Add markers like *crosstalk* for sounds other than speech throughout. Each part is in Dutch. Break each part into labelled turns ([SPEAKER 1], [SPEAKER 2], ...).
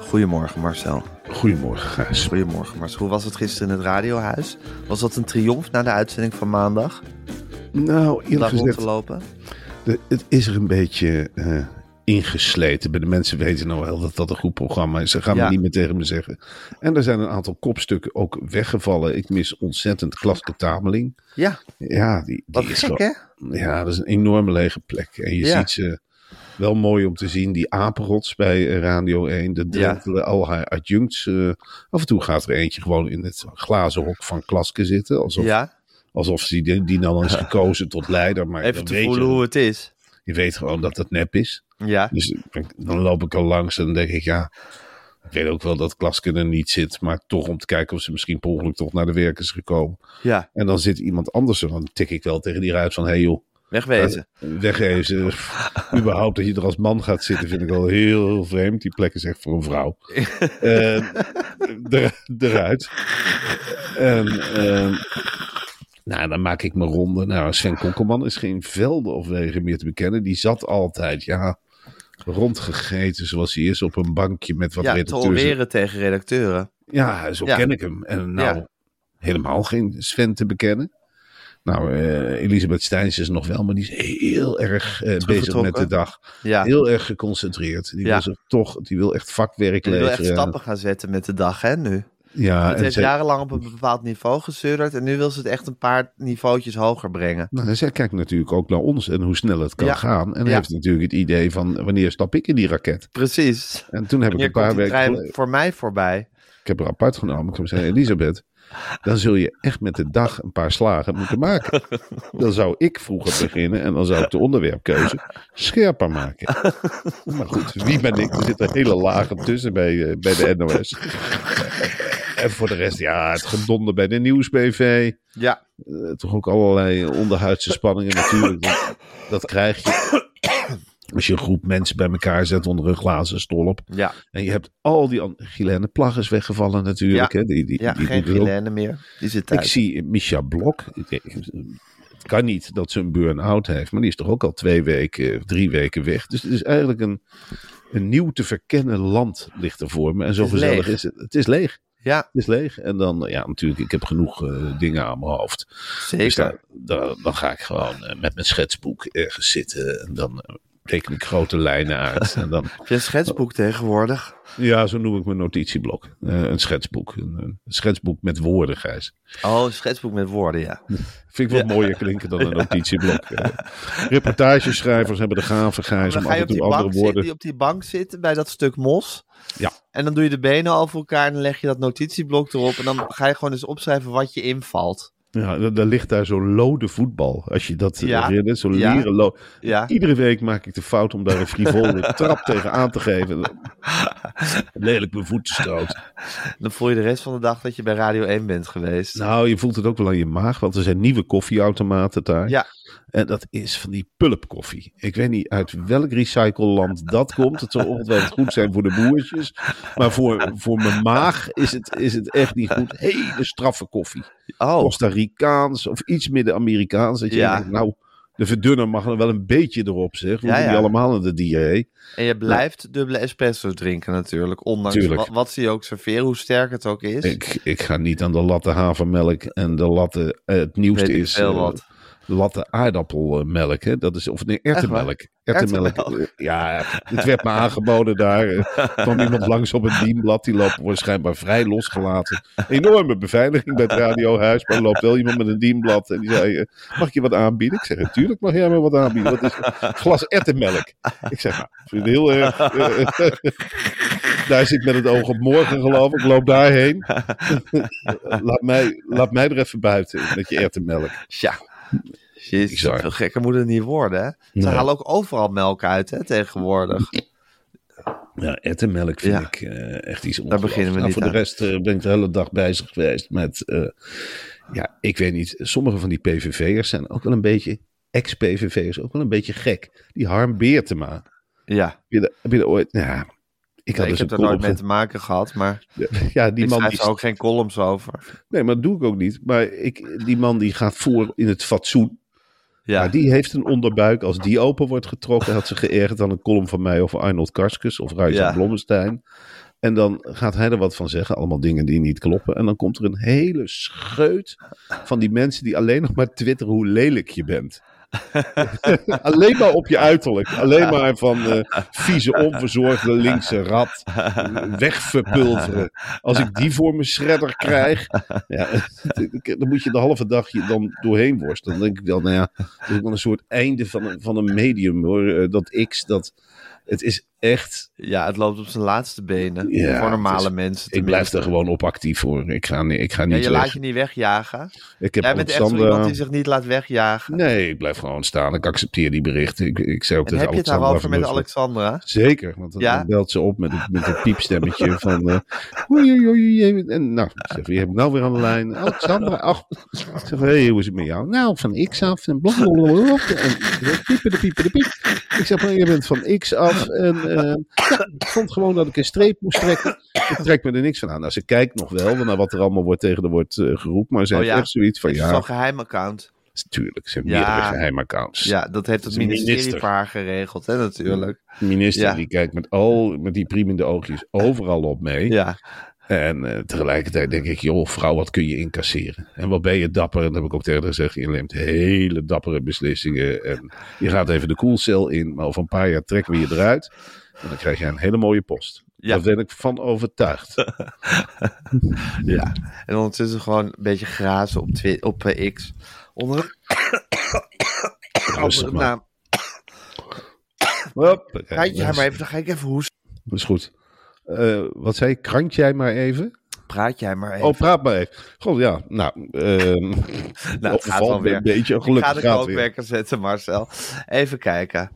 [SPEAKER 1] Goedemorgen Marcel.
[SPEAKER 2] Goedemorgen, Gijs.
[SPEAKER 1] Goedemorgen Marcel. Hoe was het gisteren in het radiohuis? Was dat een triomf na de uitzending van maandag?
[SPEAKER 2] Nou,
[SPEAKER 1] Om
[SPEAKER 2] eerlijk
[SPEAKER 1] daar rond te
[SPEAKER 2] gezegd,
[SPEAKER 1] lopen?
[SPEAKER 2] de- het is er een beetje eh, ingesleten. Bij de mensen weten nou wel dat dat een goed programma is. Ze gaan
[SPEAKER 1] Ja.
[SPEAKER 2] me niet meer tegen me zeggen. En er zijn een aantal kopstukken ook weggevallen. Ik mis ontzettend Klaske Tameling.
[SPEAKER 1] Ja,
[SPEAKER 2] Ja, die,
[SPEAKER 1] wat
[SPEAKER 2] die is
[SPEAKER 1] gek
[SPEAKER 2] gewoon-
[SPEAKER 1] hè?
[SPEAKER 2] Ja, dat is een enorme lege plek. En je
[SPEAKER 1] Ja.
[SPEAKER 2] ziet ze wel mooi om te zien. Die apenrots bij eh, Radio 1. De drentelen, al haar adjuncts. eh, af en toe gaat er eentje gewoon in het glazen hok van Klaske zitten. Alsof
[SPEAKER 1] Ja,
[SPEAKER 2] Alsof ze die, die nou
[SPEAKER 1] *laughs*
[SPEAKER 2] is gekozen tot leider. Maar
[SPEAKER 1] even
[SPEAKER 2] dan
[SPEAKER 1] te
[SPEAKER 2] weet
[SPEAKER 1] voelen
[SPEAKER 2] je,
[SPEAKER 1] hoe het is.
[SPEAKER 2] je weet gewoon dat het nep is.
[SPEAKER 1] Ja,
[SPEAKER 2] Dus ik- dan loop ik al langs en dan denk ik, ja... Ik weet ook wel dat Klaske er niet zit. Maar toch om te kijken of ze misschien per ongeluk toch naar de werk is gekomen.
[SPEAKER 1] ja,
[SPEAKER 2] En dan zit iemand anders er. Dan tik ik wel tegen die ruit van, hé hey joh.
[SPEAKER 1] wegwezen.
[SPEAKER 2] Eh, Wegwezen.
[SPEAKER 1] *laughs*
[SPEAKER 2] Pff, Überhaupt dat je er als man gaat zitten vind ik al heel vreemd. Die plek is echt voor een vrouw. Eh, er- eruit. En, ehm, nou, dan maak ik mijn ronde. Nou, Sven Konkelman is geen velden of wegen meer te bekennen. Die zat altijd, ja, rondgegeten zoals hij is op een bankje met wat
[SPEAKER 1] Ja, te
[SPEAKER 2] redacteurs.
[SPEAKER 1] oreren tegen redacteuren.
[SPEAKER 2] Ja, zo
[SPEAKER 1] Ja.
[SPEAKER 2] ken ik hem. En nou,
[SPEAKER 1] Ja.
[SPEAKER 2] helemaal geen Sven te bekennen. Nou, eh, Elisabeth Steins is nog wel, maar die is heel erg eh, bezig met de
[SPEAKER 1] Teruggetrokken.
[SPEAKER 2] dag.
[SPEAKER 1] Ja.
[SPEAKER 2] Heel erg geconcentreerd. Die,
[SPEAKER 1] Ja.
[SPEAKER 2] wil zich toch, die wil echt vakwerk
[SPEAKER 1] Je wil
[SPEAKER 2] leveren.
[SPEAKER 1] echt stappen gaan zetten met de dag, hè, nu.
[SPEAKER 2] Ja,
[SPEAKER 1] het
[SPEAKER 2] en
[SPEAKER 1] heeft
[SPEAKER 2] zij,
[SPEAKER 1] jarenlang op een bepaald niveau gesudderd en nu wil ze het echt een paar niveautjes hoger brengen.
[SPEAKER 2] nou, en zij kijkt natuurlijk ook naar ons en hoe snel het kan
[SPEAKER 1] Ja.
[SPEAKER 2] gaan. En
[SPEAKER 1] Ja.
[SPEAKER 2] heeft natuurlijk het idee van wanneer stap ik in die raket.
[SPEAKER 1] Precies.
[SPEAKER 2] En toen heb ik
[SPEAKER 1] Wanneer
[SPEAKER 2] een
[SPEAKER 1] komt
[SPEAKER 2] paar
[SPEAKER 1] die
[SPEAKER 2] weken
[SPEAKER 1] trein
[SPEAKER 2] geleden-
[SPEAKER 1] voor mij voorbij?
[SPEAKER 2] ik heb er apart genomen. Ik heb gezegd, Elisabeth, dan zul je echt met de dag een paar slagen moeten maken. Dan zou ik vroeger beginnen en dan zou ik de onderwerpkeuze scherper maken. Maar goed, wie ben ik? Er zitten hele lagen tussen bij, eh, bij de NOS. En voor de rest, ja, het gedonder bij de nieuwsbv.
[SPEAKER 1] Ja,
[SPEAKER 2] Eh, toch ook allerlei onderhuidse spanningen natuurlijk. Dat, dat krijg je. Als je een groep mensen bij elkaar zet onder een glazen stolp.
[SPEAKER 1] ja,
[SPEAKER 2] En je hebt al die an- Guylaine Plag is weggevallen natuurlijk.
[SPEAKER 1] Ja.
[SPEAKER 2] Hè? Die, die,
[SPEAKER 1] ja
[SPEAKER 2] die-
[SPEAKER 1] geen
[SPEAKER 2] die wil-
[SPEAKER 1] Guilaine meer. Die zit
[SPEAKER 2] Ik
[SPEAKER 1] thuis.
[SPEAKER 2] zie Micha Blok. Ik denk, Het kan niet dat ze een burn-out heeft. Maar die is toch ook al twee weken, eh, drie weken weg. Dus het is eigenlijk een, een nieuw te verkennen land ligt er voor me. En zo
[SPEAKER 1] Het is
[SPEAKER 2] gezellig
[SPEAKER 1] leeg.
[SPEAKER 2] is het. Het is leeg.
[SPEAKER 1] Ja,
[SPEAKER 2] Het is leeg. En dan, eh, ja natuurlijk, ik heb genoeg eh, dingen aan mijn hoofd. Dus
[SPEAKER 1] zeker.
[SPEAKER 2] daar- daar- dan ga ik gewoon eh, met mijn schetsboek ergens zitten. En dan eh, teken ik grote lijnen
[SPEAKER 1] *laughs*
[SPEAKER 2] uit. En dan,
[SPEAKER 1] Heb je een schetsboek tegenwoordig?
[SPEAKER 2] ja, zo noem ik mijn notitieblok. Eh, een schetsboek. Een, een schetsboek met woorden, Gijs.
[SPEAKER 1] Oh, een schetsboek met woorden, ja.
[SPEAKER 2] Vind ik wat mooier klinken
[SPEAKER 1] *laughs*
[SPEAKER 2] dan een notitieblok. Eh, reportageschrijvers hebben de gave, Gijs,
[SPEAKER 1] Dan
[SPEAKER 2] Dus om
[SPEAKER 1] ga
[SPEAKER 2] af
[SPEAKER 1] je
[SPEAKER 2] en
[SPEAKER 1] op die,
[SPEAKER 2] toe
[SPEAKER 1] bank
[SPEAKER 2] andere
[SPEAKER 1] zitten,
[SPEAKER 2] woorden...
[SPEAKER 1] die op die bank zitten bij dat stuk mos.
[SPEAKER 2] Ja.
[SPEAKER 1] En dan doe je de benen over elkaar en dan leg je dat notitieblok erop. En dan ga je gewoon eens opschrijven wat je invalt.
[SPEAKER 2] Ja, dan, dan ligt daar zo'n lode voetbal. Als je dat
[SPEAKER 1] Ja.
[SPEAKER 2] ja. herinnert, zo'n
[SPEAKER 1] Ja.
[SPEAKER 2] lieren lo-
[SPEAKER 1] Ja.
[SPEAKER 2] Iedere week maak ik de fout om daar een
[SPEAKER 1] *laughs*
[SPEAKER 2] frivole trap tegen aan te geven. Lelijk mijn voeten stoot.
[SPEAKER 1] Dan voel je de rest van de dag dat je bij Radio 1 bent geweest.
[SPEAKER 2] Nou, je voelt het ook wel aan je maag, want er zijn nieuwe koffieautomaten daar.
[SPEAKER 1] Ja.
[SPEAKER 2] En dat is van die pulpkoffie. Ik weet niet uit welk recycleland dat komt. Het zal ongetwijfeld goed zijn voor de boertjes. Maar voor, voor mijn maag is het, is het echt niet goed. Hele straffe koffie.
[SPEAKER 1] Oh,
[SPEAKER 2] Costa Ricaans of iets Midden-Amerikaans. Dat je
[SPEAKER 1] Ja.
[SPEAKER 2] denkt, nou, de verdunner mag er wel een beetje erop, zeg. We
[SPEAKER 1] Ja,
[SPEAKER 2] hebben die
[SPEAKER 1] ja.
[SPEAKER 2] allemaal in de diarree.
[SPEAKER 1] en je blijft dubbele espresso drinken natuurlijk. Ondanks wa-
[SPEAKER 2] Tuurlijk.
[SPEAKER 1] wat, ze je ook serveren, hoe sterk het ook is.
[SPEAKER 2] Ik, ik ga niet aan de latte havermelk en de latte, eh, het nieuwste
[SPEAKER 1] Weet ik
[SPEAKER 2] is
[SPEAKER 1] veel
[SPEAKER 2] eh,
[SPEAKER 1] wat.
[SPEAKER 2] latte aardappelmelk. Hè? Dat is, of nee, erwtenmelk. Erwtenmelk.
[SPEAKER 1] Erwtenmelk.
[SPEAKER 2] Ja, het werd me aangeboden daar. Eh, kwam iemand langs op een dienblad. Die loopt waarschijnlijk vrij losgelaten. Enorme beveiliging bij het radiohuis. Maar er loopt wel iemand met een dienblad. En die zei, eh, mag ik je wat aanbieden? Ik zeg, natuurlijk mag jij me wat aanbieden. Wat is het? Glas erwtenmelk. Ik zeg, nou, ik vind het heel erg... eh, daar zit met het oog op morgen geloof ik. Ik loop daarheen. laat, mij, laat mij er even buiten met je erwtenmelk.
[SPEAKER 1] Tja. Jezus,
[SPEAKER 2] Bizar.
[SPEAKER 1] veel gekker moet het niet worden, hè? Ze
[SPEAKER 2] Nee.
[SPEAKER 1] halen ook overal melk uit, hè, tegenwoordig.
[SPEAKER 2] Ja, ettenmelk vind
[SPEAKER 1] Ja.
[SPEAKER 2] ik eh, echt iets ongelooflijk.
[SPEAKER 1] beginnen we
[SPEAKER 2] Nou,
[SPEAKER 1] niet
[SPEAKER 2] Voor
[SPEAKER 1] aan.
[SPEAKER 2] de rest eh, ben ik de hele dag bezig geweest met... eh, ja, ik weet niet. Sommige van die PVV'ers zijn ook wel een beetje... Ex-PVV'ers ook wel een beetje gek. Die Harm Beertema. Heb
[SPEAKER 1] Ja,
[SPEAKER 2] je daar- heb je daar ooit... Ja, ik had
[SPEAKER 1] ik
[SPEAKER 2] dus
[SPEAKER 1] heb
[SPEAKER 2] een
[SPEAKER 1] er nooit
[SPEAKER 2] column
[SPEAKER 1] mee te maken gehad, maar
[SPEAKER 2] ge- *laughs* Ja, die
[SPEAKER 1] ik
[SPEAKER 2] man
[SPEAKER 1] schrijf
[SPEAKER 2] die...
[SPEAKER 1] er ook geen columns over.
[SPEAKER 2] Nee, maar dat doe ik ook niet. Maar ik, die man die gaat voor in het fatsoen.
[SPEAKER 1] Ja,
[SPEAKER 2] Maar die heeft een onderbuik. Als die open wordt getrokken, had ze geërgerd aan een column van mij over Arnold Karskes of Ruijs
[SPEAKER 1] Ja.
[SPEAKER 2] Blommestein. En dan gaat hij er wat van zeggen. Allemaal dingen die niet kloppen. En dan komt er een hele scheut van die mensen die alleen nog maar twitteren hoe lelijk je bent. alleen maar op je uiterlijk. Alleen maar van eh, vieze, onverzorgde linkse rat. Wegverpulveren. Als ik die voor mijn shredder krijg. Ja, *laughs* dan moet je de halve dag je dan doorheen worstelen. Dan denk ik wel, nou ja, dat is ook wel een soort einde van een, van een medium hoor. Eh, Dat X, dat, het is echt...
[SPEAKER 1] ja het loopt op zijn laatste benen.
[SPEAKER 2] Ja,
[SPEAKER 1] voor
[SPEAKER 2] het
[SPEAKER 1] normale
[SPEAKER 2] is-
[SPEAKER 1] mensen
[SPEAKER 2] Ik blijf
[SPEAKER 1] tenminste.
[SPEAKER 2] er gewoon op actief voor. Ik ga, niet- ik ga
[SPEAKER 1] Ja,
[SPEAKER 2] niet
[SPEAKER 1] je
[SPEAKER 2] weg.
[SPEAKER 1] laat je niet wegjagen.
[SPEAKER 2] Ik heb
[SPEAKER 1] Jij bent echt zo iemand die
[SPEAKER 2] Alexandra...
[SPEAKER 1] zich niet laat wegjagen.
[SPEAKER 2] Nee, ik blijf gewoon staan. Ik accepteer die berichten. Ik, ik zei ook
[SPEAKER 1] en
[SPEAKER 2] tegen
[SPEAKER 1] heb je het
[SPEAKER 2] Alexandra
[SPEAKER 1] daarover
[SPEAKER 2] van
[SPEAKER 1] met
[SPEAKER 2] Mussel.
[SPEAKER 1] Alexandra?
[SPEAKER 2] Zeker, want dan
[SPEAKER 1] Ja?
[SPEAKER 2] belt ze op met een, met
[SPEAKER 1] *laughs*
[SPEAKER 2] een piepstemmetje van... eh oei, oei, oei, jij bent- En nou, ik zeg, wie heb ik nou weer aan de lijn? Alexandra, ach. Ik zeg, hey, hoe is het met jou? Nou, van X af en blablabla. En piepen de piepen de piep. Ik zeg, maar je bent van X af. En eh, ja, ik vond gewoon dat ik een streep moest trekken. Ik trek me er niks van aan. Nou, ze kijkt nog wel naar wat er allemaal wordt tegen de wordt eh, geroepen. Maar ze
[SPEAKER 1] Oh
[SPEAKER 2] heeft
[SPEAKER 1] ja,
[SPEAKER 2] echt zoiets van,
[SPEAKER 1] Is het
[SPEAKER 2] ja,
[SPEAKER 1] zo'n geheim account?
[SPEAKER 2] natuurlijk. Ze heeft
[SPEAKER 1] Ja.
[SPEAKER 2] meerdere geheimaccounts.
[SPEAKER 1] Ja, dat heeft het
[SPEAKER 2] is een
[SPEAKER 1] ministerie
[SPEAKER 2] minister.
[SPEAKER 1] voor haar geregeld, hè, natuurlijk.
[SPEAKER 2] De minister
[SPEAKER 1] Ja.
[SPEAKER 2] die kijkt met, al, met die priemende oogjes overal op mee.
[SPEAKER 1] Ja,
[SPEAKER 2] En eh, tegelijkertijd denk ik, joh, vrouw, wat kun je incasseren? En wat ben je dapper? En dat heb ik ook tegen haar gezegd. Je neemt hele dappere beslissingen. En je gaat even de koelcel in, maar over een paar jaar trekken we je eruit. En dan krijg je een hele mooie post.
[SPEAKER 1] Ja.
[SPEAKER 2] Daar ben ik van
[SPEAKER 1] *laughs*
[SPEAKER 2] overtuigd.
[SPEAKER 1] ja. En ondertussen gewoon een beetje grazen op, Twi- op eh, X. Onder
[SPEAKER 2] Rustig
[SPEAKER 1] andere
[SPEAKER 2] maar.
[SPEAKER 1] naam.
[SPEAKER 2] Hop,
[SPEAKER 1] Ga je nou, maar even, dan ga ik even hoesten.
[SPEAKER 2] Dat is goed. Eh, wat zei ik? Krant jij maar even?
[SPEAKER 1] Praat jij maar even.
[SPEAKER 2] Oh, praat maar even. God, ja. Nou, ehm
[SPEAKER 1] *laughs* nou, het gaat
[SPEAKER 2] valt
[SPEAKER 1] wel
[SPEAKER 2] weer
[SPEAKER 1] weer.
[SPEAKER 2] een beetje.
[SPEAKER 1] Ik ga dus
[SPEAKER 2] Gelukkig
[SPEAKER 1] de
[SPEAKER 2] gaat het weer.
[SPEAKER 1] kookwekker zetten, Marcel. Even kijken.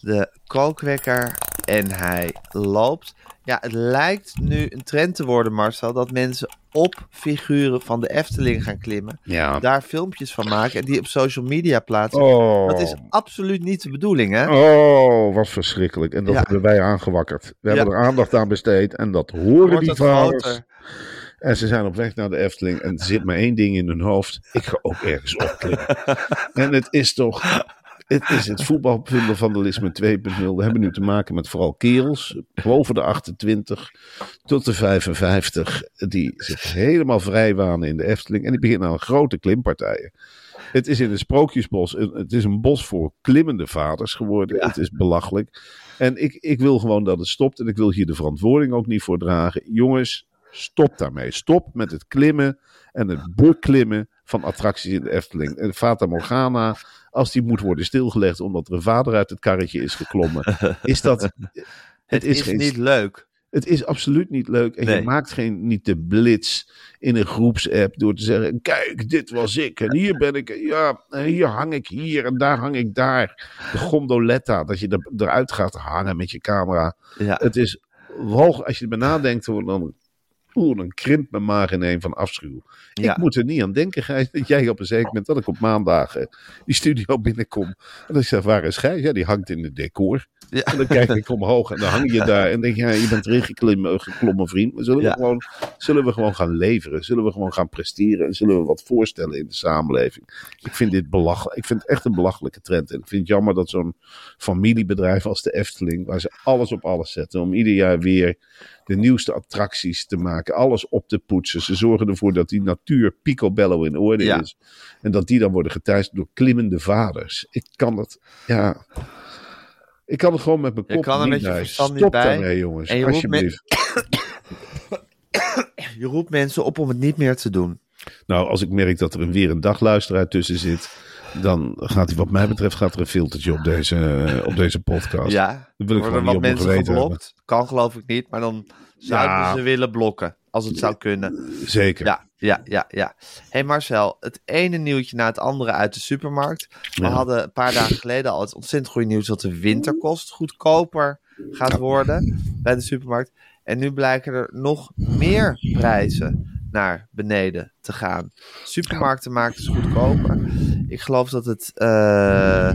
[SPEAKER 1] De kookwekker en hij loopt. Ja, het lijkt nu een trend te worden, Marcel, dat mensen op figuren van de Efteling gaan klimmen.
[SPEAKER 2] Ja.
[SPEAKER 1] Daar filmpjes van maken en die op social media plaatsen.
[SPEAKER 2] Oh.
[SPEAKER 1] Dat is absoluut niet de bedoeling, hè?
[SPEAKER 2] Oh, wat verschrikkelijk. En dat
[SPEAKER 1] Ja.
[SPEAKER 2] hebben wij aangewakkerd. We
[SPEAKER 1] Ja.
[SPEAKER 2] hebben er aandacht aan besteed en dat horen
[SPEAKER 1] Wordt
[SPEAKER 2] die
[SPEAKER 1] het
[SPEAKER 2] vaders.
[SPEAKER 1] groter?
[SPEAKER 2] En ze zijn op weg naar de Efteling en er zit maar één ding in hun hoofd. Ik ga ook ergens opklimmen. en het is toch... Het is het voetbalfundamentalisme 2.0. We hebben nu te maken met vooral kerels boven de 28 tot de 55 die zich helemaal vrij wanen in de Efteling en die beginnen aan grote klimpartijen. Het is in het Sprookjesbos. een- Het is een bos voor klimmende vaders geworden. Het is belachelijk. En ik, ik wil gewoon dat het stopt. En ik wil hier de verantwoording ook niet voor dragen. Jongens, stop daarmee. Stop met het klimmen en het beklimmen van attracties in de Efteling. En Fata Morgana, als die moet worden stilgelegd omdat er een vader uit het karretje is geklommen. Is dat... Het,
[SPEAKER 1] *laughs* Het is,
[SPEAKER 2] geen
[SPEAKER 1] niet leuk.
[SPEAKER 2] het is absoluut niet leuk. En
[SPEAKER 1] Nee.
[SPEAKER 2] je maakt geen, niet de blitz in een groepsapp door te zeggen: Kijk, dit was ik. En hier ben ik. Ja, en hier hang ik hier en daar hang ik daar. De gondoletta, dat je er, eruit gaat hangen met je camera.
[SPEAKER 1] Ja.
[SPEAKER 2] Het is walg. Als je er nadenkt, hoor, dan Oeh, dan krimpt mijn maag ineen van afschuw.
[SPEAKER 1] Ja.
[SPEAKER 2] Ik moet er niet aan denken, Gijs, dat jij op een zeker moment, dat ik op maandagen die studio binnenkom. En dan zeg waar is Gijs? Ja, die hangt in het decor.
[SPEAKER 1] Ja.
[SPEAKER 2] En dan kijk ik omhoog en dan hang je daar. En denk je, ja, je bent erin geklommen, geklommen vriend. Maar zullen,
[SPEAKER 1] Ja.
[SPEAKER 2] we gewoon, zullen we gewoon gaan leveren? Zullen we gewoon gaan presteren? En zullen we wat voorstellen in de samenleving? Ik vind dit belachelijk. Ik vind het echt een belachelijke trend. En ik vind het jammer dat zo'n familiebedrijf als de Efteling, waar ze alles op alles zetten, om ieder jaar weer de nieuwste attracties te maken, alles op te poetsen. Ze zorgen ervoor dat die natuur picobello in orde
[SPEAKER 1] Ja.
[SPEAKER 2] is. En dat die dan worden geteisterd door klimmende vaders. Ik kan dat, ja. Ik kan het gewoon met mijn
[SPEAKER 1] Je
[SPEAKER 2] kop
[SPEAKER 1] kan er
[SPEAKER 2] niet
[SPEAKER 1] met je
[SPEAKER 2] bij.
[SPEAKER 1] verstand niet
[SPEAKER 2] Stop
[SPEAKER 1] bij.
[SPEAKER 2] daarmee, jongens.
[SPEAKER 1] En je roept
[SPEAKER 2] Alsjeblieft.
[SPEAKER 1] Je roept mensen op om het niet meer te doen.
[SPEAKER 2] Nou, als ik merk dat er een weer een dagluisteraar tussen zit, dan gaat hij, wat mij betreft, gaat er een filtertje op deze, op deze podcast.
[SPEAKER 1] Ja,
[SPEAKER 2] Dat wil ik gewoon
[SPEAKER 1] worden
[SPEAKER 2] niet
[SPEAKER 1] wat
[SPEAKER 2] op mijn
[SPEAKER 1] mensen
[SPEAKER 2] geweten hebben.
[SPEAKER 1] geblokt. Kan geloof ik niet, maar dan zouden
[SPEAKER 2] Ja.
[SPEAKER 1] ze willen blokken. Als het zou kunnen.
[SPEAKER 2] Zeker.
[SPEAKER 1] Ja, ja, ja, ja. hey Marcel, het ene nieuwtje na het andere uit de supermarkt. We
[SPEAKER 2] Ja.
[SPEAKER 1] hadden een paar dagen geleden al het ontzettend goede nieuws dat de winterkost goedkoper gaat worden bij de supermarkt. En nu blijken er nog meer prijzen naar beneden te gaan. Supermarkten maken het goedkoper. Ik geloof dat het eh,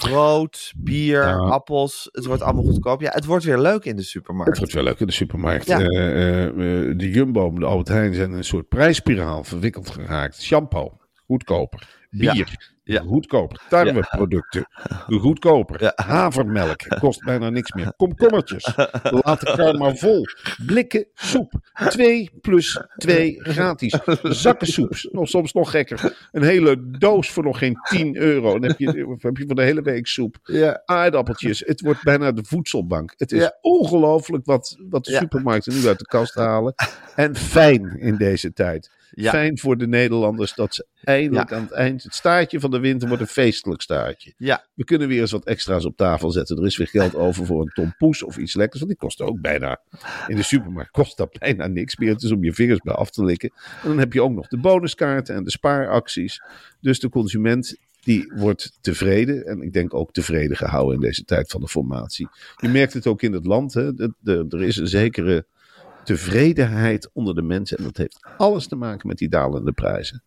[SPEAKER 1] brood, bier,
[SPEAKER 2] Ja.
[SPEAKER 1] appels, het wordt allemaal goedkoop. Ja, het wordt weer leuk in de
[SPEAKER 2] Het
[SPEAKER 1] supermarkt.
[SPEAKER 2] wordt wel leuk in de supermarkt.
[SPEAKER 1] Ja.
[SPEAKER 2] Eh, eh, eh, de Jumbo en de Albert Heijn zijn in een soort prijsspiraal verwikkeld geraakt. Shampoo, goedkoper. Bier,
[SPEAKER 1] Ja.
[SPEAKER 2] goedkoper. Tarweproducten, goedkoper. Havermelk, kost bijna niks meer. Komkommertjes, laat de kar maar vol. Blikken soep, 2 plus 2 gratis. Zakken soep, nog soms nog gekker. Een hele doos voor nog geen 10 euro. Dan heb je, heb je voor de hele week soep
[SPEAKER 1] Ja.
[SPEAKER 2] aardappeltjes. Het wordt bijna de voedselbank. Het is
[SPEAKER 1] Ja.
[SPEAKER 2] ongelooflijk wat, wat de
[SPEAKER 1] Ja.
[SPEAKER 2] supermarkten nu uit de kast halen. En fijn in deze tijd.
[SPEAKER 1] Ja.
[SPEAKER 2] Fijn voor de Nederlanders dat ze eindelijk
[SPEAKER 1] Ja.
[SPEAKER 2] aan het eind... Het staartje van de winter wordt een feestelijk staartje.
[SPEAKER 1] Ja,
[SPEAKER 2] We kunnen weer eens wat extra's op tafel zetten. Er is weer geld over voor een tompoes of iets lekkers. Want die kost ook bijna... In de supermarkt kost dat bijna niks meer. Het is om je vingers bij af te likken. En dan heb je ook nog de bonuskaarten en de spaaracties. Dus de consument die wordt tevreden. En ik denk ook tevreden gehouden in deze tijd van de formatie. Je merkt het ook in het land. Hè? De, de- er is een zekere tevredenheid onder de mensen. En dat heeft alles te maken met die dalende prijzen.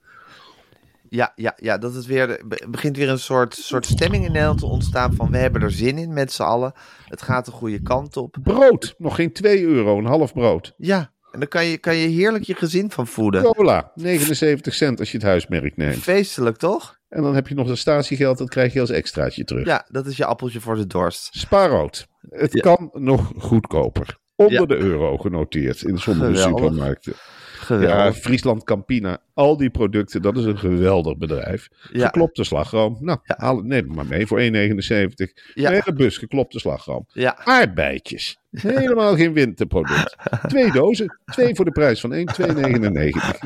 [SPEAKER 1] ja, ja, ja, dat het weer be- begint weer een soort, soort stemming in Nederland te ontstaan van we hebben er zin in met z'n allen. Het gaat de goede kant op.
[SPEAKER 2] Brood, nog geen 2 euro, een half brood.
[SPEAKER 1] Ja, en daar kan je, kan je heerlijk je gezin van voeden.
[SPEAKER 2] Cola, 79 cent als je het huismerk neemt.
[SPEAKER 1] Feestelijk toch?
[SPEAKER 2] En dan heb je nog dat statiegeld, dat krijg je als extraatje terug.
[SPEAKER 1] Ja, dat is je appeltje voor de dorst.
[SPEAKER 2] Spaarrood. Het
[SPEAKER 1] Ja.
[SPEAKER 2] kan nog goedkoper. Onder
[SPEAKER 1] Ja.
[SPEAKER 2] de euro genoteerd in sommige
[SPEAKER 1] Geweldig.
[SPEAKER 2] supermarkten. Ja,
[SPEAKER 1] Geweldig.
[SPEAKER 2] Friesland Campina, al die producten, dat is een geweldig bedrijf.
[SPEAKER 1] Ja.
[SPEAKER 2] Geklopte slagroom, nou, haal het, neem het maar mee voor 1,79.
[SPEAKER 1] Ja.
[SPEAKER 2] Ja. Nee, de bus, geklopte slagroom.
[SPEAKER 1] Ja.
[SPEAKER 2] Aardbeidjes, helemaal geen winterproduct. Twee dozen, twee voor de prijs van 1, 2,99.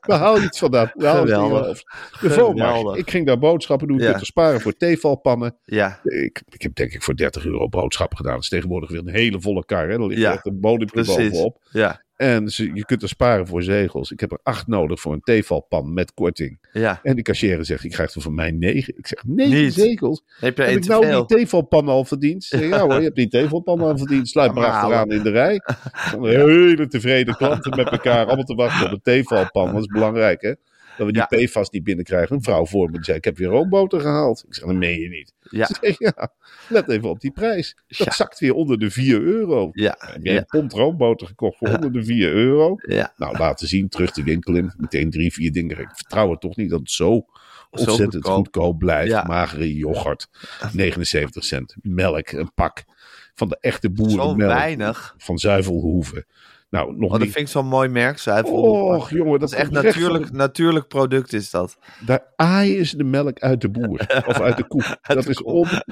[SPEAKER 2] We halen iets van dat. We halen iets van
[SPEAKER 1] Geweldig.
[SPEAKER 2] dat. De Vomar,
[SPEAKER 1] Geweldig.
[SPEAKER 2] ik ging daar boodschappen doen,
[SPEAKER 1] Ja.
[SPEAKER 2] ja. te sparen voor theevalpannen.
[SPEAKER 1] Ja,
[SPEAKER 2] Ik, ik heb denk ik voor 30 euro boodschappen gedaan. Dat is tegenwoordig weer een hele volle kar. Hè? Dan ligt
[SPEAKER 1] Ja,
[SPEAKER 2] er echt een bodempje
[SPEAKER 1] precies.
[SPEAKER 2] bovenop.
[SPEAKER 1] Ja,
[SPEAKER 2] En ze- je kunt er sparen voor zegels. Ik heb er acht nodig voor een theevalpan met korting.
[SPEAKER 1] ja.
[SPEAKER 2] En de cashier zegt, ik krijg er van mij negen. Ik zeg, negen
[SPEAKER 1] Niet.
[SPEAKER 2] zegels?
[SPEAKER 1] Heb je
[SPEAKER 2] heb
[SPEAKER 1] er één
[SPEAKER 2] ik
[SPEAKER 1] te
[SPEAKER 2] nou
[SPEAKER 1] veel?
[SPEAKER 2] die theevalpan al verdiend? Ze zeggen, ja hoor, je hebt die theevalpan al verdiend. Sluit maar
[SPEAKER 1] Allemaal
[SPEAKER 2] achteraan in de rij. Dan hele tevreden klanten met elkaar. Allemaal te wachten op een theevalpan. Dat is belangrijk, hè? Dat we die
[SPEAKER 1] Ja.
[SPEAKER 2] PFAS niet binnenkrijgen. Een vrouw voor me die zei, ik heb weer roomboter gehaald. Ik zeg, dat meen je niet.
[SPEAKER 1] Ja,
[SPEAKER 2] Ze zeggen, ja, let even op die prijs. Dat
[SPEAKER 1] Ja.
[SPEAKER 2] zakt weer onder de 4 euro.
[SPEAKER 1] ja,
[SPEAKER 2] Heb jij
[SPEAKER 1] ja,
[SPEAKER 2] een pond roomboter gekocht voor onder de 4 euro?
[SPEAKER 1] ja.
[SPEAKER 2] Nou, laten zien, terug de winkel in. Meteen drie, vier dingen. Ik vertrouw het toch niet dat het zo ontzettend
[SPEAKER 1] goedkoop.
[SPEAKER 2] goedkoop. blijft.
[SPEAKER 1] Ja.
[SPEAKER 2] Magere yoghurt, 79 cent. Melk, een pak van de echte
[SPEAKER 1] Zo
[SPEAKER 2] boerenmelk.
[SPEAKER 1] weinig.
[SPEAKER 2] Van Zuivelhoeven. Nou, nog
[SPEAKER 1] Want dat
[SPEAKER 2] niet...
[SPEAKER 1] vind ik zo'n mooi merk, zuivel.
[SPEAKER 2] Och, jongen,
[SPEAKER 1] dat
[SPEAKER 2] dat
[SPEAKER 1] is echt
[SPEAKER 2] recht van-
[SPEAKER 1] natuurlijk, natuurlijk product is dat.
[SPEAKER 2] Daar aaien ze de melk uit de boer. Of uit de
[SPEAKER 1] *laughs*
[SPEAKER 2] koe. dat,
[SPEAKER 1] de
[SPEAKER 2] is
[SPEAKER 1] koe.
[SPEAKER 2] on-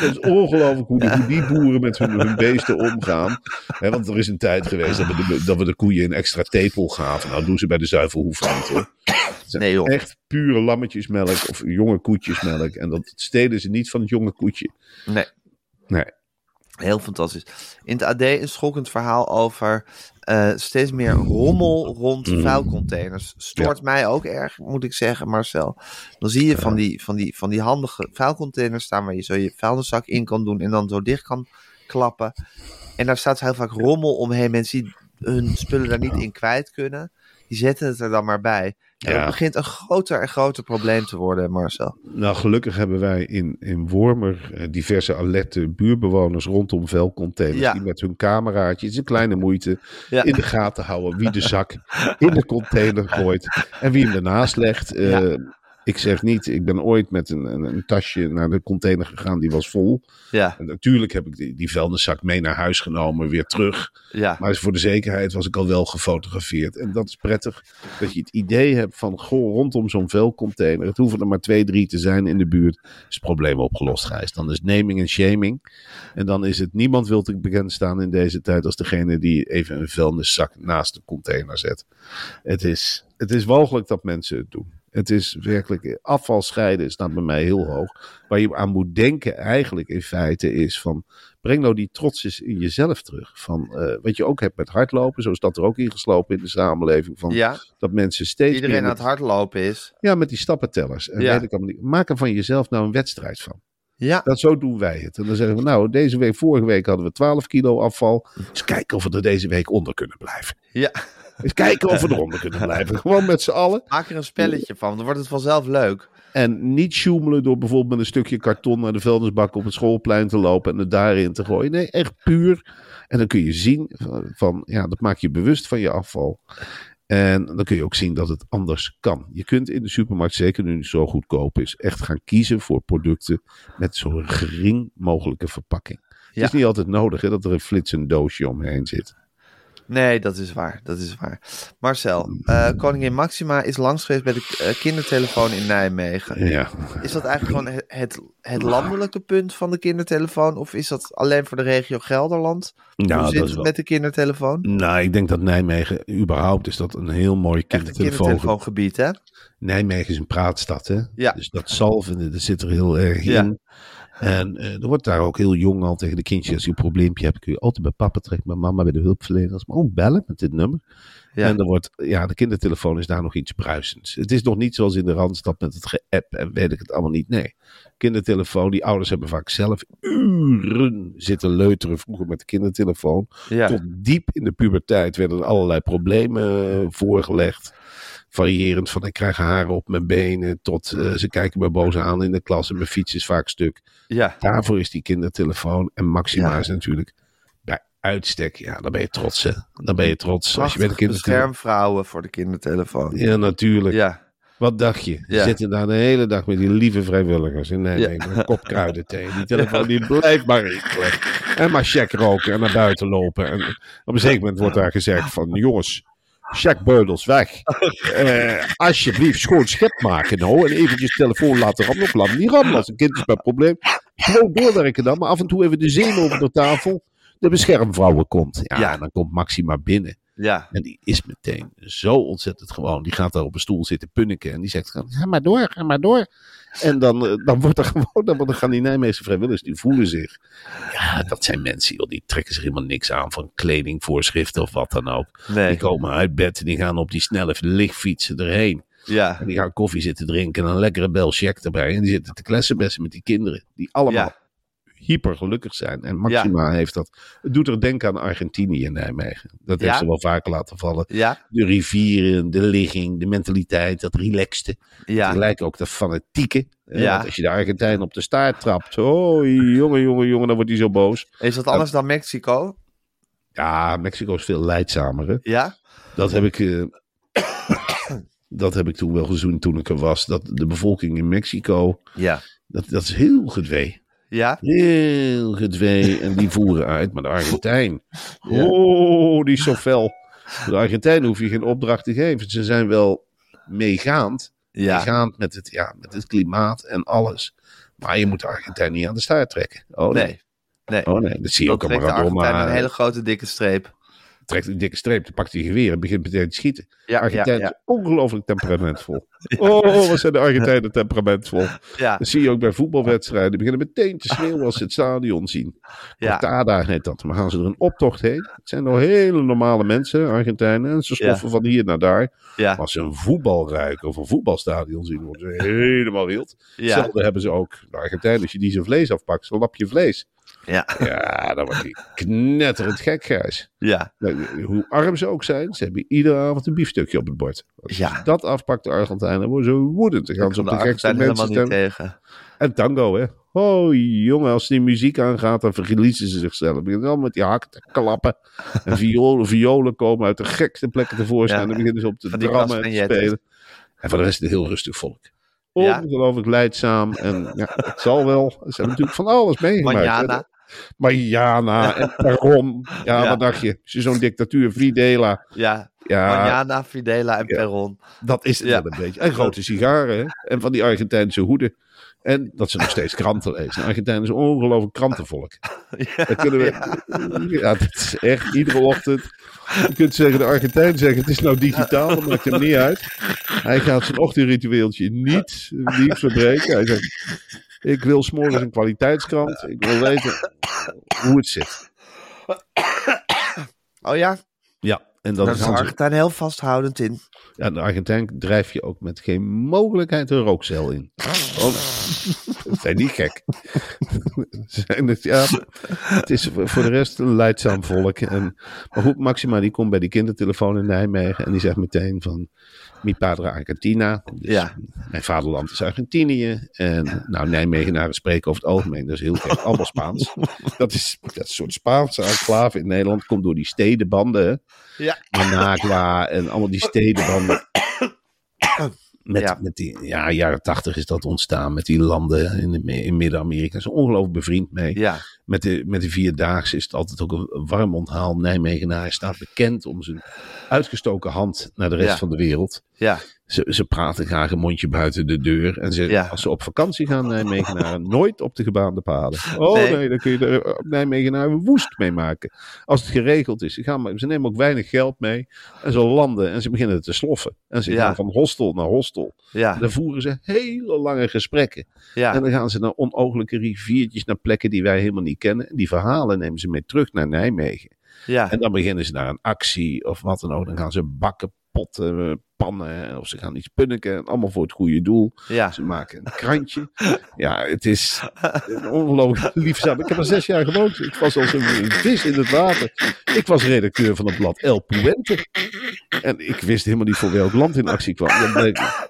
[SPEAKER 2] dat is ongelooflijk hoe, die- hoe die boeren met hun, hun beesten omgaan. Hè, want er is een tijd geweest dat we, de, dat we de koeien een extra tepel gaven. Nou, doen ze bij de zuivelhoef niet hoor. Het zijn
[SPEAKER 1] Nee, joh.
[SPEAKER 2] Echt pure lammetjesmelk of jonge koetjesmelk. En dat stelen ze niet van het jonge koetje.
[SPEAKER 1] Nee.
[SPEAKER 2] Nee.
[SPEAKER 1] Heel fantastisch. In het AD een schokkend verhaal over eh, steeds meer rommel rond
[SPEAKER 2] Mm.
[SPEAKER 1] vuilcontainers. Stoort mij ook erg, moet ik zeggen, Marcel. Dan zie je van die, van die, van die handige vuilcontainers staan waar je zo je vuilniszak in kan doen en dan zo dicht kan klappen. En daar staat heel vaak rommel omheen. Mensen die hun spullen daar niet in kwijt kunnen. Die zetten het er dan maar bij. En
[SPEAKER 2] Ja.
[SPEAKER 1] dat begint een groter en groter probleem te worden, Marcel.
[SPEAKER 2] Nou, gelukkig hebben wij in, in Wormer eh, diverse alerte buurbewoners rondom vuilcontainers.
[SPEAKER 1] Ja.
[SPEAKER 2] Die met hun cameraatje, het is een kleine moeite,
[SPEAKER 1] Ja.
[SPEAKER 2] in de gaten houden wie de zak in de container gooit en wie hem ernaast legt. Eh, Ik zeg niet, ik ben ooit met een, een, een tasje naar de container gegaan, die was vol.
[SPEAKER 1] Ja,
[SPEAKER 2] En natuurlijk heb ik die, die vuilniszak mee naar huis genomen, weer terug.
[SPEAKER 1] ja.
[SPEAKER 2] Maar voor de zekerheid was ik al wel gefotografeerd. En dat is prettig dat je het idee hebt van goh, rondom zo'n vuilcontainer. Het hoeven er maar twee, drie te zijn in de buurt. Is het probleem opgelost, Gijs. Dan is naming en shaming. En dan is het niemand wil te bekend staan in deze tijd als degene die even een vuilniszak naast de container zet. Het is, het is walgelijk dat mensen het doen. Het is werkelijk, afval scheiden staat bij mij heel hoog. Waar je aan moet denken eigenlijk in feite is van, breng nou die trots eens in jezelf terug. Van, eh, wat je ook hebt met hardlopen, zo is dat er ook ingeslopen in de samenleving. Van,
[SPEAKER 1] Ja,
[SPEAKER 2] Dat mensen steeds
[SPEAKER 1] iedereen aan
[SPEAKER 2] meer
[SPEAKER 1] het
[SPEAKER 2] met,
[SPEAKER 1] hardlopen is.
[SPEAKER 2] ja, met die stappentellers. En
[SPEAKER 1] Ja.
[SPEAKER 2] weet ik allemaal niet. Maak er van jezelf nou een wedstrijd van.
[SPEAKER 1] Ja,
[SPEAKER 2] Dat, zo doen wij het. En dan zeggen we, nou, deze week, vorige week hadden we 12 kilo afval. Eens kijken of we er deze week onder kunnen blijven.
[SPEAKER 1] ja.
[SPEAKER 2] Eens kijken of we eronder kunnen blijven. Gewoon met z'n allen.
[SPEAKER 1] Maak er een spelletje van, dan wordt het vanzelf leuk.
[SPEAKER 2] En niet sjoemelen door bijvoorbeeld met een stukje karton naar de vuilnisbak op het schoolplein te lopen en het daarin te gooien. Nee, echt puur. En dan kun je zien van, van, ja, dat maakt je bewust van je afval. En dan kun je ook zien dat het anders kan. Je kunt in de supermarkt, zeker nu het zo goedkoop is, echt gaan kiezen voor producten met zo gering mogelijke verpakking.
[SPEAKER 1] Ja.
[SPEAKER 2] Het is niet altijd nodig hè, dat er een flitsend doosje omheen zit.
[SPEAKER 1] Nee, dat is waar. Dat is waar. Marcel, eh, koningin Maxima is langs geweest bij de eh, kindertelefoon in Nijmegen.
[SPEAKER 2] Ja,
[SPEAKER 1] Is dat eigenlijk gewoon he- het, het landelijke punt van de kindertelefoon? Of is dat alleen voor de regio Gelderland?
[SPEAKER 2] Nou,
[SPEAKER 1] Hoe
[SPEAKER 2] dat
[SPEAKER 1] zit
[SPEAKER 2] is
[SPEAKER 1] het
[SPEAKER 2] wel-
[SPEAKER 1] met de kindertelefoon?
[SPEAKER 2] nou, ik denk dat Nijmegen überhaupt is dat een heel mooi
[SPEAKER 1] Echt een
[SPEAKER 2] kindertelefoon.
[SPEAKER 1] kindertelefoongebied, hè?
[SPEAKER 2] Nijmegen is een praatstad, hè?
[SPEAKER 1] Ja.
[SPEAKER 2] Dus dat zalven, dat zit er heel erg in.
[SPEAKER 1] Ja.
[SPEAKER 2] En eh, er wordt daar ook heel jong al tegen de kindjes, als je een probleempje hebt, kun je altijd bij papa terecht, bij mama, bij de hulpverleners. Maar ook bellen met dit nummer.
[SPEAKER 1] Ja.
[SPEAKER 2] En er wordt, ja, de kindertelefoon is daar nog iets bruisends. Het is nog niet zoals in de Randstad met het geapp en weet ik het allemaal niet. Nee, kindertelefoon, die ouders hebben vaak zelf uren zitten leuteren vroeger met de kindertelefoon.
[SPEAKER 1] Ja.
[SPEAKER 2] Tot diep in de puberteit werden er allerlei problemen eh, voorgelegd. Variërend van ik krijg haren op mijn benen tot eh, ze kijken me boos aan in de klas en mijn fiets is vaak stuk.
[SPEAKER 1] ja.
[SPEAKER 2] Daarvoor is die kindertelefoon en Maxima
[SPEAKER 1] Ja.
[SPEAKER 2] is natuurlijk bij uitstek. Ja, dan ben je trots hè. Dan ben je trots als je bij de
[SPEAKER 1] Prachtige
[SPEAKER 2] kindertelefoon...
[SPEAKER 1] beschermvrouwen voor de kindertelefoon.
[SPEAKER 2] Ja, natuurlijk.
[SPEAKER 1] Ja.
[SPEAKER 2] Wat dacht je?
[SPEAKER 1] Ja.
[SPEAKER 2] Ze zitten daar de hele dag met die lieve vrijwilligers. En nee,
[SPEAKER 1] Ja.
[SPEAKER 2] nee, met een kop kruidenthee.
[SPEAKER 1] *laughs*
[SPEAKER 2] Die telefoon die blijft maar rinkelen. En maar check roken en naar buiten lopen. En op een zeker moment wordt daar gezegd van... Jongens, check beudels
[SPEAKER 1] *laughs*
[SPEAKER 2] weg. Eh, alsjeblieft, schoon schip maken nou. En eventjes telefoon laten rammelen. Of laat hem niet rammelen als een kind is bij probleem. Gewoon doorwerken dan. Maar af en toe even de zenuw over de tafel. De beschermvrouwen komt. Ja,
[SPEAKER 1] Ja.
[SPEAKER 2] en dan komt Maxima binnen.
[SPEAKER 1] Ja.
[SPEAKER 2] En die is meteen zo ontzettend gewoon. Die gaat daar op een stoel zitten punniken. En die zegt, gewoon, ga maar door, ga maar door. En dan, eh, dan wordt er gewoon, dan, dan gaan die Nijmeegse vrijwilligers, die voelen zich. Ja, dat zijn mensen, joh, die trekken zich helemaal niks aan van kledingvoorschriften of wat dan ook. Die
[SPEAKER 1] Nee.
[SPEAKER 2] komen uit bed en die gaan op die snelle lichtfietsen erheen.
[SPEAKER 1] Ja.
[SPEAKER 2] En die gaan koffie zitten drinken en een lekkere bel check erbij. En die zitten te klessenbessen met die kinderen. Die allemaal
[SPEAKER 1] Ja.
[SPEAKER 2] hyper gelukkig zijn. En Maxima heeft dat. Het doet er denken aan Argentinië in Nijmegen. Dat
[SPEAKER 1] Ja?
[SPEAKER 2] heeft ze wel vaker laten vallen.
[SPEAKER 1] Ja.
[SPEAKER 2] De rivieren, de ligging, de mentaliteit, dat relaxte.
[SPEAKER 1] Ja.
[SPEAKER 2] Tegelijk ook dat fanatieke. hè,
[SPEAKER 1] Ja.
[SPEAKER 2] Want als je de Argentijn op de staart trapt. Oh, jongen, jongen, jongen, dan wordt hij zo boos.
[SPEAKER 1] Is dat anders dan Mexico?
[SPEAKER 2] Ja, Mexico is veel leidzamer. hè.
[SPEAKER 1] Ja.
[SPEAKER 2] Dat heb ik. eh, *coughs* dat heb ik toen wel gezien toen ik er was. Dat de bevolking in Mexico.
[SPEAKER 1] Ja.
[SPEAKER 2] Dat, dat is heel gedwee.
[SPEAKER 1] Ja.
[SPEAKER 2] Heel gedwee. En die voeren uit. Maar de Argentijn.
[SPEAKER 1] *laughs* Ja.
[SPEAKER 2] Oh, die is zo fel. De Argentijn hoef je geen opdracht te geven. Ze zijn wel meegaand.
[SPEAKER 1] Ja.
[SPEAKER 2] Meegaand met het, ja, met het klimaat en alles. Maar je moet de Argentijn niet aan de staart trekken. Oh nee.
[SPEAKER 1] Nee. Nee.
[SPEAKER 2] Oh nee, dat zie je ook
[SPEAKER 1] Dat
[SPEAKER 2] aan
[SPEAKER 1] trekt de Argentijn
[SPEAKER 2] Maradona.
[SPEAKER 1] een hele grote dikke streep.
[SPEAKER 2] Trekt een dikke streep, dan pakt hij geweer en begint meteen te schieten. De
[SPEAKER 1] Ja. Ja.
[SPEAKER 2] Argentijn
[SPEAKER 1] Ja.
[SPEAKER 2] is ongelooflijk temperamentvol. Oh, wat zijn de
[SPEAKER 1] *laughs*
[SPEAKER 2] Argentijnen temperamentvol.
[SPEAKER 1] Ja.
[SPEAKER 2] Dat zie je ook bij voetbalwedstrijden. Die beginnen meteen te schreeuwen als ze het stadion zien.
[SPEAKER 1] Ja.
[SPEAKER 2] Cortada heet dat. Maar gaan ze er een optocht heen. Het zijn nog hele normale mensen, Argentijnen. En ze sloffen van hier naar daar.
[SPEAKER 1] Ja.
[SPEAKER 2] Maar als ze een voetbal ruiken of een voetbalstadion zien, worden ze helemaal wild.
[SPEAKER 1] Ja.
[SPEAKER 2] Hetzelfde hebben ze ook. De Argentijnen, als je die zijn vlees afpakt, zo'n lapje vlees.
[SPEAKER 1] Ja,
[SPEAKER 2] Ja, dan wordt hij knetterend gek, Gijs.
[SPEAKER 1] ja.
[SPEAKER 2] Nou, Hoe arm ze ook zijn, ze hebben iedere avond een biefstukje op het bord. Als
[SPEAKER 1] Ja.
[SPEAKER 2] dat afpakt de Argentijnen, worden ze woedend. Dan gaan ze
[SPEAKER 1] Kan
[SPEAKER 2] op
[SPEAKER 1] de
[SPEAKER 2] de gekste
[SPEAKER 1] Argentijn
[SPEAKER 2] mensen
[SPEAKER 1] helemaal niet
[SPEAKER 2] stemmen.
[SPEAKER 1] tegen.
[SPEAKER 2] En tango, hè. Oh, jongen, als die muziek aangaat, dan verliezen ze zichzelf. Dan beginnen ze allemaal met die hakken te klappen.
[SPEAKER 1] *laughs*
[SPEAKER 2] En violen, violen komen uit de gekste plekken tevoorschijn.
[SPEAKER 1] Ja.
[SPEAKER 2] En dan beginnen ze op te
[SPEAKER 1] Van die
[SPEAKER 2] drammen en te
[SPEAKER 1] castanjettes.
[SPEAKER 2] spelen. En voor de rest een heel rustig volk.
[SPEAKER 1] Ja.
[SPEAKER 2] Ongelooflijk leidzaam. En ja, het zal wel. Ze hebben natuurlijk van alles meegemaakt. hè.
[SPEAKER 1] Manjana.
[SPEAKER 2] Mariana en Perron. Ja,
[SPEAKER 1] Ja.
[SPEAKER 2] wat dacht je? Als je Zo'n dictatuur, Videla.
[SPEAKER 1] Ja,
[SPEAKER 2] Ja,
[SPEAKER 1] Manjana, Fidela en Perron.
[SPEAKER 2] dat is het
[SPEAKER 1] Ja.
[SPEAKER 2] wel een beetje. En grote sigaren. hè. En van die Argentijnse hoeden. En dat ze nog steeds kranten lezen. Argentijn is een ongelooflijk krantenvolk. Dat kunnen we... Ja. dat is echt iedere ochtend. Je kunt zeggen, de Argentijn zeggen, het is nou digitaal, dat maakt hem niet uit. Hij gaat zijn ochtendritueeltje niet, niet verbreken. Hij zegt, ik wil s'morgens een kwaliteitskrant. Ik wil weten hoe het zit.
[SPEAKER 1] Oh ja,
[SPEAKER 2] Ja, en dat
[SPEAKER 1] daar is
[SPEAKER 2] is
[SPEAKER 1] de
[SPEAKER 2] dan zo-
[SPEAKER 1] Argentijn heel vasthoudend in.
[SPEAKER 2] ja, de Argentijn drijf je ook met geen mogelijkheid een rookcel in. Oh, ze zijn niet gek. *laughs* Ze zijn het, ja, het is voor voor de rest een leidzaam volk. En, maar goed, Maxima die komt bij die kindertelefoon in Nijmegen en die zegt meteen van mi padre Argentina. Dus
[SPEAKER 1] Ja.
[SPEAKER 2] Mijn vaderland is Argentinië. En nou, Nijmegenaren spreken over het algemeen, dat is heel gek, allemaal Spaans. Dat is, dat is een soort Spaanse enclave in Nederland, komt door die stedenbanden. hè.
[SPEAKER 1] Ja.
[SPEAKER 2] Managua en allemaal die steden dan. *coughs* Met,
[SPEAKER 1] Ja.
[SPEAKER 2] met die ja, jaren tachtig is dat ontstaan met die landen in, de, in Midden-Amerika. Ze zijn ongelooflijk bevriend mee.
[SPEAKER 1] Ja,
[SPEAKER 2] Met, de, met de Vierdaagse is het altijd ook een, een warm onthaal. Nijmegenaar staat bekend om zijn uitgestoken hand naar de rest
[SPEAKER 1] Ja.
[SPEAKER 2] van de wereld.
[SPEAKER 1] ja.
[SPEAKER 2] Ze, ze praten graag een mondje buiten de deur. En ze,
[SPEAKER 1] Ja.
[SPEAKER 2] als ze op vakantie gaan, Nijmegenaren, nooit op de gebaande paden. Oh nee,
[SPEAKER 1] Nee.
[SPEAKER 2] dan kun je er op Nijmegenaren woest mee maken. Als het geregeld is. Ze, gaan, maar- ze nemen ook weinig geld mee. En ze landen en ze beginnen te sloffen. En ze
[SPEAKER 1] Ja. Ah.
[SPEAKER 2] gaan van hostel naar hostel. En
[SPEAKER 1] Ja,
[SPEAKER 2] dan voeren ze hele lange gesprekken. En
[SPEAKER 1] ja,
[SPEAKER 2] dan gaan ze naar onogelijke riviertjes, naar plekken die wij helemaal niet kennen. En die verhalen nemen ze mee terug naar Nijmegen.
[SPEAKER 1] ja.
[SPEAKER 2] En dan beginnen ze naar een actie of wat dan ook. Dan gaan ze bakken, potten, eh, pannen eh, of ze gaan iets punniken. En Allemaal voor het goede doel.
[SPEAKER 1] Ja.
[SPEAKER 2] Ze maken een krantje. Ja, het is een ongelooflijk liefzaam. Ik heb er zes jaar gewoond. Ik was als een vis in het water. Ik was redacteur van het blad El Puente. En ik wist helemaal niet voor welk land in actie kwam. Dat bleek-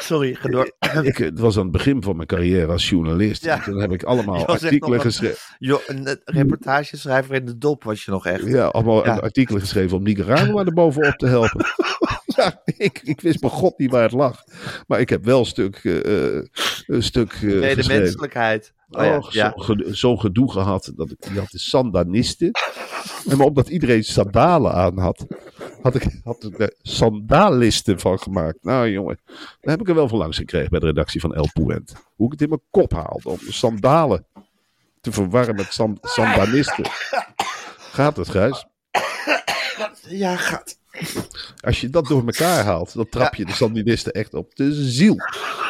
[SPEAKER 1] Sorry, gedor.
[SPEAKER 2] ik, het was aan het begin van mijn carrière als journalist.
[SPEAKER 1] Ja.
[SPEAKER 2] En Toen heb ik allemaal
[SPEAKER 1] Je was echt nog
[SPEAKER 2] artikelen
[SPEAKER 1] wat-
[SPEAKER 2] geschreven.
[SPEAKER 1] Jo, een eh, reportageschrijver in de dop was je nog echt.
[SPEAKER 2] Ja, allemaal
[SPEAKER 1] Ja.
[SPEAKER 2] artikelen geschreven om Nicaragua er bovenop te helpen. *laughs* ja, ik, ik wist mijn god niet waar het lag. Maar ik heb wel een stuk, eh, eh, een stuk eh,
[SPEAKER 1] Nee, de
[SPEAKER 2] geschreven.
[SPEAKER 1] menselijkheid. Oh,
[SPEAKER 2] Oh,
[SPEAKER 1] ja,
[SPEAKER 2] zo-
[SPEAKER 1] ja.
[SPEAKER 2] gedo- Zo'n gedoe gehad. Dat ik, die had de sandanisten. En maar omdat iedereen sandalen aan had, had ik, had ik er sandalisten van gemaakt. Nou jongen, daar heb ik er wel van langs gekregen bij de redactie van El Puent. Hoe ik het in mijn kop haalde om sandalen te verwarren met
[SPEAKER 1] *laughs*
[SPEAKER 2] san- sandanisten. Gaat het, Gijs?
[SPEAKER 1] Ja, gaat.
[SPEAKER 2] Als je dat door elkaar haalt, dan trap je de Sandinisten echt op de ziel.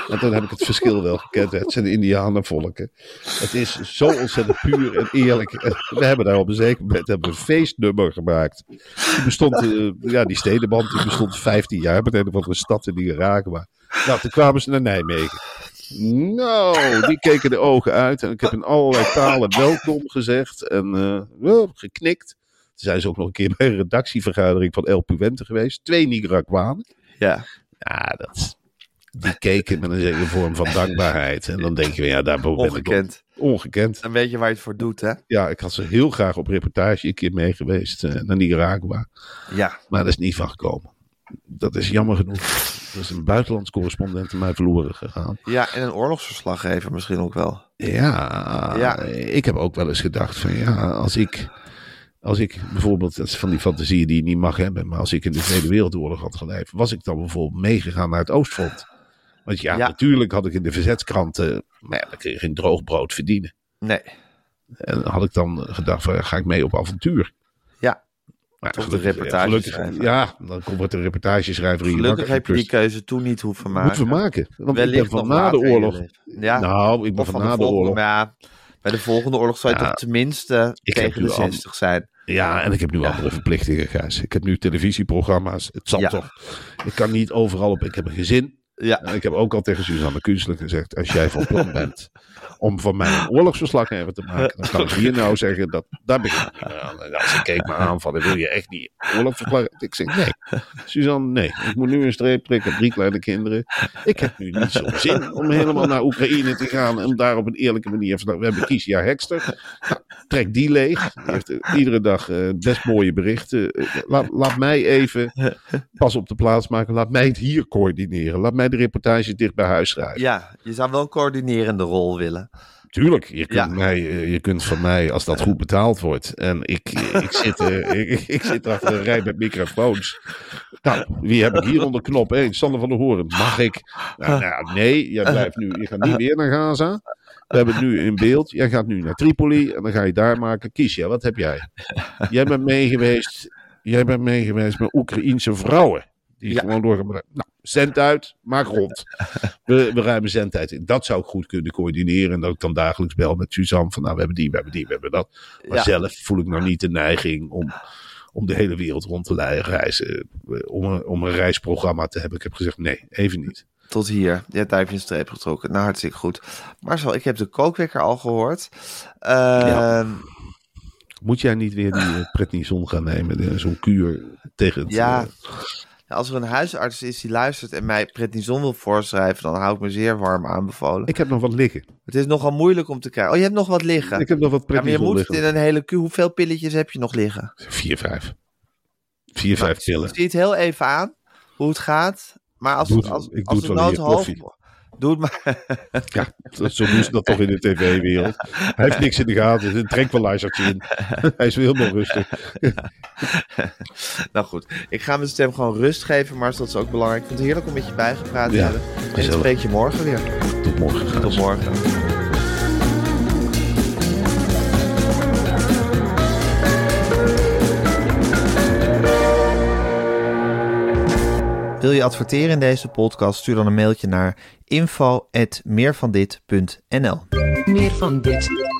[SPEAKER 2] En dan heb ik het verschil wel gekend. Het zijn Indianenvolken. Het is zo ontzettend puur en eerlijk. En we hebben daar op een zeker moment hebben we een feestnummer gemaakt. Die bestond, eh, ja, die stedenband die bestond 15 jaar met een of andere stad in Nicaragua. Nou, toen kwamen ze naar Nijmegen. Nou, die keken de ogen uit. En ik heb in allerlei talen welkom gezegd. En eh, wel, geknikt. Toen zijn ze ook nog een keer bij een redactievergadering van El Puente geweest. Twee Nicaraguanen.
[SPEAKER 1] Ja,
[SPEAKER 2] Ja, dat... Die keken met een zekere vorm van dankbaarheid. En dan denk je, ja, daar ben ik
[SPEAKER 1] ongekend.
[SPEAKER 2] wel- ongekend.
[SPEAKER 1] Dan weet je waar je het voor doet, hè?
[SPEAKER 2] Ja, ik had ze heel graag op reportage een keer mee geweest eh, naar Nicaragua.
[SPEAKER 1] Ja,
[SPEAKER 2] Maar dat is niet van gekomen. Dat is jammer genoeg. Er is een buitenlands correspondent mij verloren gegaan.
[SPEAKER 1] ja en een oorlogsverslaggever misschien ook wel.
[SPEAKER 2] Ja,
[SPEAKER 1] Ja.
[SPEAKER 2] ik heb ook wel eens gedacht van ja, als ik, als ik bijvoorbeeld, dat is van die fantasieën die je niet mag hebben, maar als ik in de Tweede Wereldoorlog had geleefd, was ik dan bijvoorbeeld meegegaan naar het Oostfront. Want ja,
[SPEAKER 1] Ja.
[SPEAKER 2] natuurlijk had ik in de verzetskranten, maar ja, dan kun je geen droog brood verdienen.
[SPEAKER 1] Nee.
[SPEAKER 2] En dan had ik dan gedacht van ja, ga ik mee op avontuur.
[SPEAKER 1] Ja.
[SPEAKER 2] Maar
[SPEAKER 1] Tot de
[SPEAKER 2] gelukkig-
[SPEAKER 1] reportageschrijver.
[SPEAKER 2] gelukkig- Ja, dan komt het een reportageschrijver hier.
[SPEAKER 1] Gelukkig
[SPEAKER 2] wakker
[SPEAKER 1] heb je die
[SPEAKER 2] gekust.
[SPEAKER 1] keuze toen niet hoeven maken.
[SPEAKER 2] Moeten we maken. Want ik
[SPEAKER 1] Wellicht
[SPEAKER 2] ben van
[SPEAKER 1] nog
[SPEAKER 2] na de
[SPEAKER 1] later in je
[SPEAKER 2] oorlog.
[SPEAKER 1] leven. Ja,
[SPEAKER 2] Nou, ik ben
[SPEAKER 1] of
[SPEAKER 2] van,
[SPEAKER 1] van
[SPEAKER 2] na
[SPEAKER 1] de
[SPEAKER 2] de
[SPEAKER 1] volgende.
[SPEAKER 2] oorlog.
[SPEAKER 1] Maar ja, bij de volgende oorlog zou je
[SPEAKER 2] Ja.
[SPEAKER 1] toch tenminste
[SPEAKER 2] Ik heb
[SPEAKER 1] tegen
[SPEAKER 2] nu
[SPEAKER 1] de
[SPEAKER 2] al-
[SPEAKER 1] 60 zijn.
[SPEAKER 2] Ja, en ik heb nu
[SPEAKER 1] Ja.
[SPEAKER 2] andere verplichtingen, Gijs. Ik heb nu televisieprogramma's. Het zal
[SPEAKER 1] Ja.
[SPEAKER 2] toch. Ik kan niet overal op. Ik heb een gezin.
[SPEAKER 1] Ja.
[SPEAKER 2] En ik heb ook al tegen Suzanne Kunstler gezegd: als jij van
[SPEAKER 1] *laughs*
[SPEAKER 2] plan bent om van mij een oorlogsverslag even te maken, dan kan ik hier nou zeggen dat daar begin ik niet meer aan. En als ze keek me aan van: wil je echt niet oorlogsverslag? Ik zeg: nee, Suzanne, nee. Ik moet nu een streep trekken, drie kleine kinderen. Ik heb nu niet zo'n zin om helemaal naar Oekraïne te gaan en om daar op een eerlijke manier van. We hebben Kiesja Hekster. Nou, trek die leeg. Die heeft eh, iedere dag eh, best mooie berichten. Eh, laat, laat mij even pas op de plaats maken. Laat mij het hier coördineren. Laat mij de reportage dicht bij huis schrijven.
[SPEAKER 1] Ja, je zou wel een coördinerende rol willen.
[SPEAKER 2] Tuurlijk, je kunt,
[SPEAKER 1] Ja.
[SPEAKER 2] mij, eh, je kunt van mij, als dat goed betaald wordt. En ik, ik, zit, eh, ik, ik zit achter een rij met microfoons. Nou, wie heb ik hier onder knop 1? Sander van der Hoorn. Mag ik? Nou, nou, nee, jij blijft nu. Je gaat niet weer naar Gaza. We hebben het nu in beeld. Jij gaat nu naar Tripoli en dan ga je daar maken. Kies jij, wat heb jij? Jij bent meegeweest. Jij bent meegeweest met Oekraïense vrouwen. Die
[SPEAKER 1] Ja.
[SPEAKER 2] gewoon doorgaan. Nou, zend uit, maak *laughs* rond. We, we ruimen zendtijd in. Dat zou ik goed kunnen coördineren. En dat ik dan dagelijks bel met Suzanne. Van nou, we hebben die, we hebben die, we hebben dat. Maar
[SPEAKER 1] Ja.
[SPEAKER 2] zelf voel ik nou niet de neiging om, om de hele wereld rond te lei- reizen. eh, Om een, om een reisprogramma te hebben. Ik heb gezegd, nee, even niet.
[SPEAKER 1] Tot hier. Ja, daar heb je een streep getrokken. Nou, hartstikke goed. Marcel, ik heb de kookwekker al gehoord. Eh,
[SPEAKER 2] Ja.
[SPEAKER 1] ja.
[SPEAKER 2] Moet jij niet weer die eh, pretnison gaan nemen? de- Zo'n kuur tegen het... eh,
[SPEAKER 1] Als er een huisarts is die luistert en mij prednison wil voorschrijven, dan hou ik me zeer warm aanbevolen.
[SPEAKER 2] ik heb nog wat liggen.
[SPEAKER 1] Het is nogal moeilijk om te krijgen. Oh, je hebt nog wat liggen.
[SPEAKER 2] Ik heb nog wat
[SPEAKER 1] ja, maar je
[SPEAKER 2] pretnison
[SPEAKER 1] moet het
[SPEAKER 2] liggen.
[SPEAKER 1] in een hele Q. Hoeveel pilletjes heb je nog liggen?
[SPEAKER 2] Vier, vijf. Vier, vijf pillen.
[SPEAKER 1] Ik zie het heel even aan hoe het gaat. Maar als,
[SPEAKER 2] Doe
[SPEAKER 1] het-
[SPEAKER 2] het-
[SPEAKER 1] als,
[SPEAKER 2] ik doe
[SPEAKER 1] als
[SPEAKER 2] het
[SPEAKER 1] het
[SPEAKER 2] wel in je
[SPEAKER 1] nood half-
[SPEAKER 2] koffie.
[SPEAKER 1] Doe het maar. *laughs*
[SPEAKER 2] Ja, zo doen ze dat toch in de tv-wereld. Hij heeft niks in de gaten. Er zit een tranquilizertje in. Hij is weer helemaal rustig.
[SPEAKER 1] nou goed, ik ga mijn stem gewoon rust geven, maar dat is ook belangrijk. Ik vond het heerlijk om met je bijgepraat te
[SPEAKER 2] Ja,
[SPEAKER 1] hebben. En ik
[SPEAKER 2] gezellig.
[SPEAKER 1] spreek je morgen weer.
[SPEAKER 2] Tot morgen.
[SPEAKER 1] Tot
[SPEAKER 2] gaas.
[SPEAKER 1] morgen. Wil je adverteren in deze podcast? Stuur dan een mailtje naar info@meervandit.nl.
[SPEAKER 3] Meer van dit.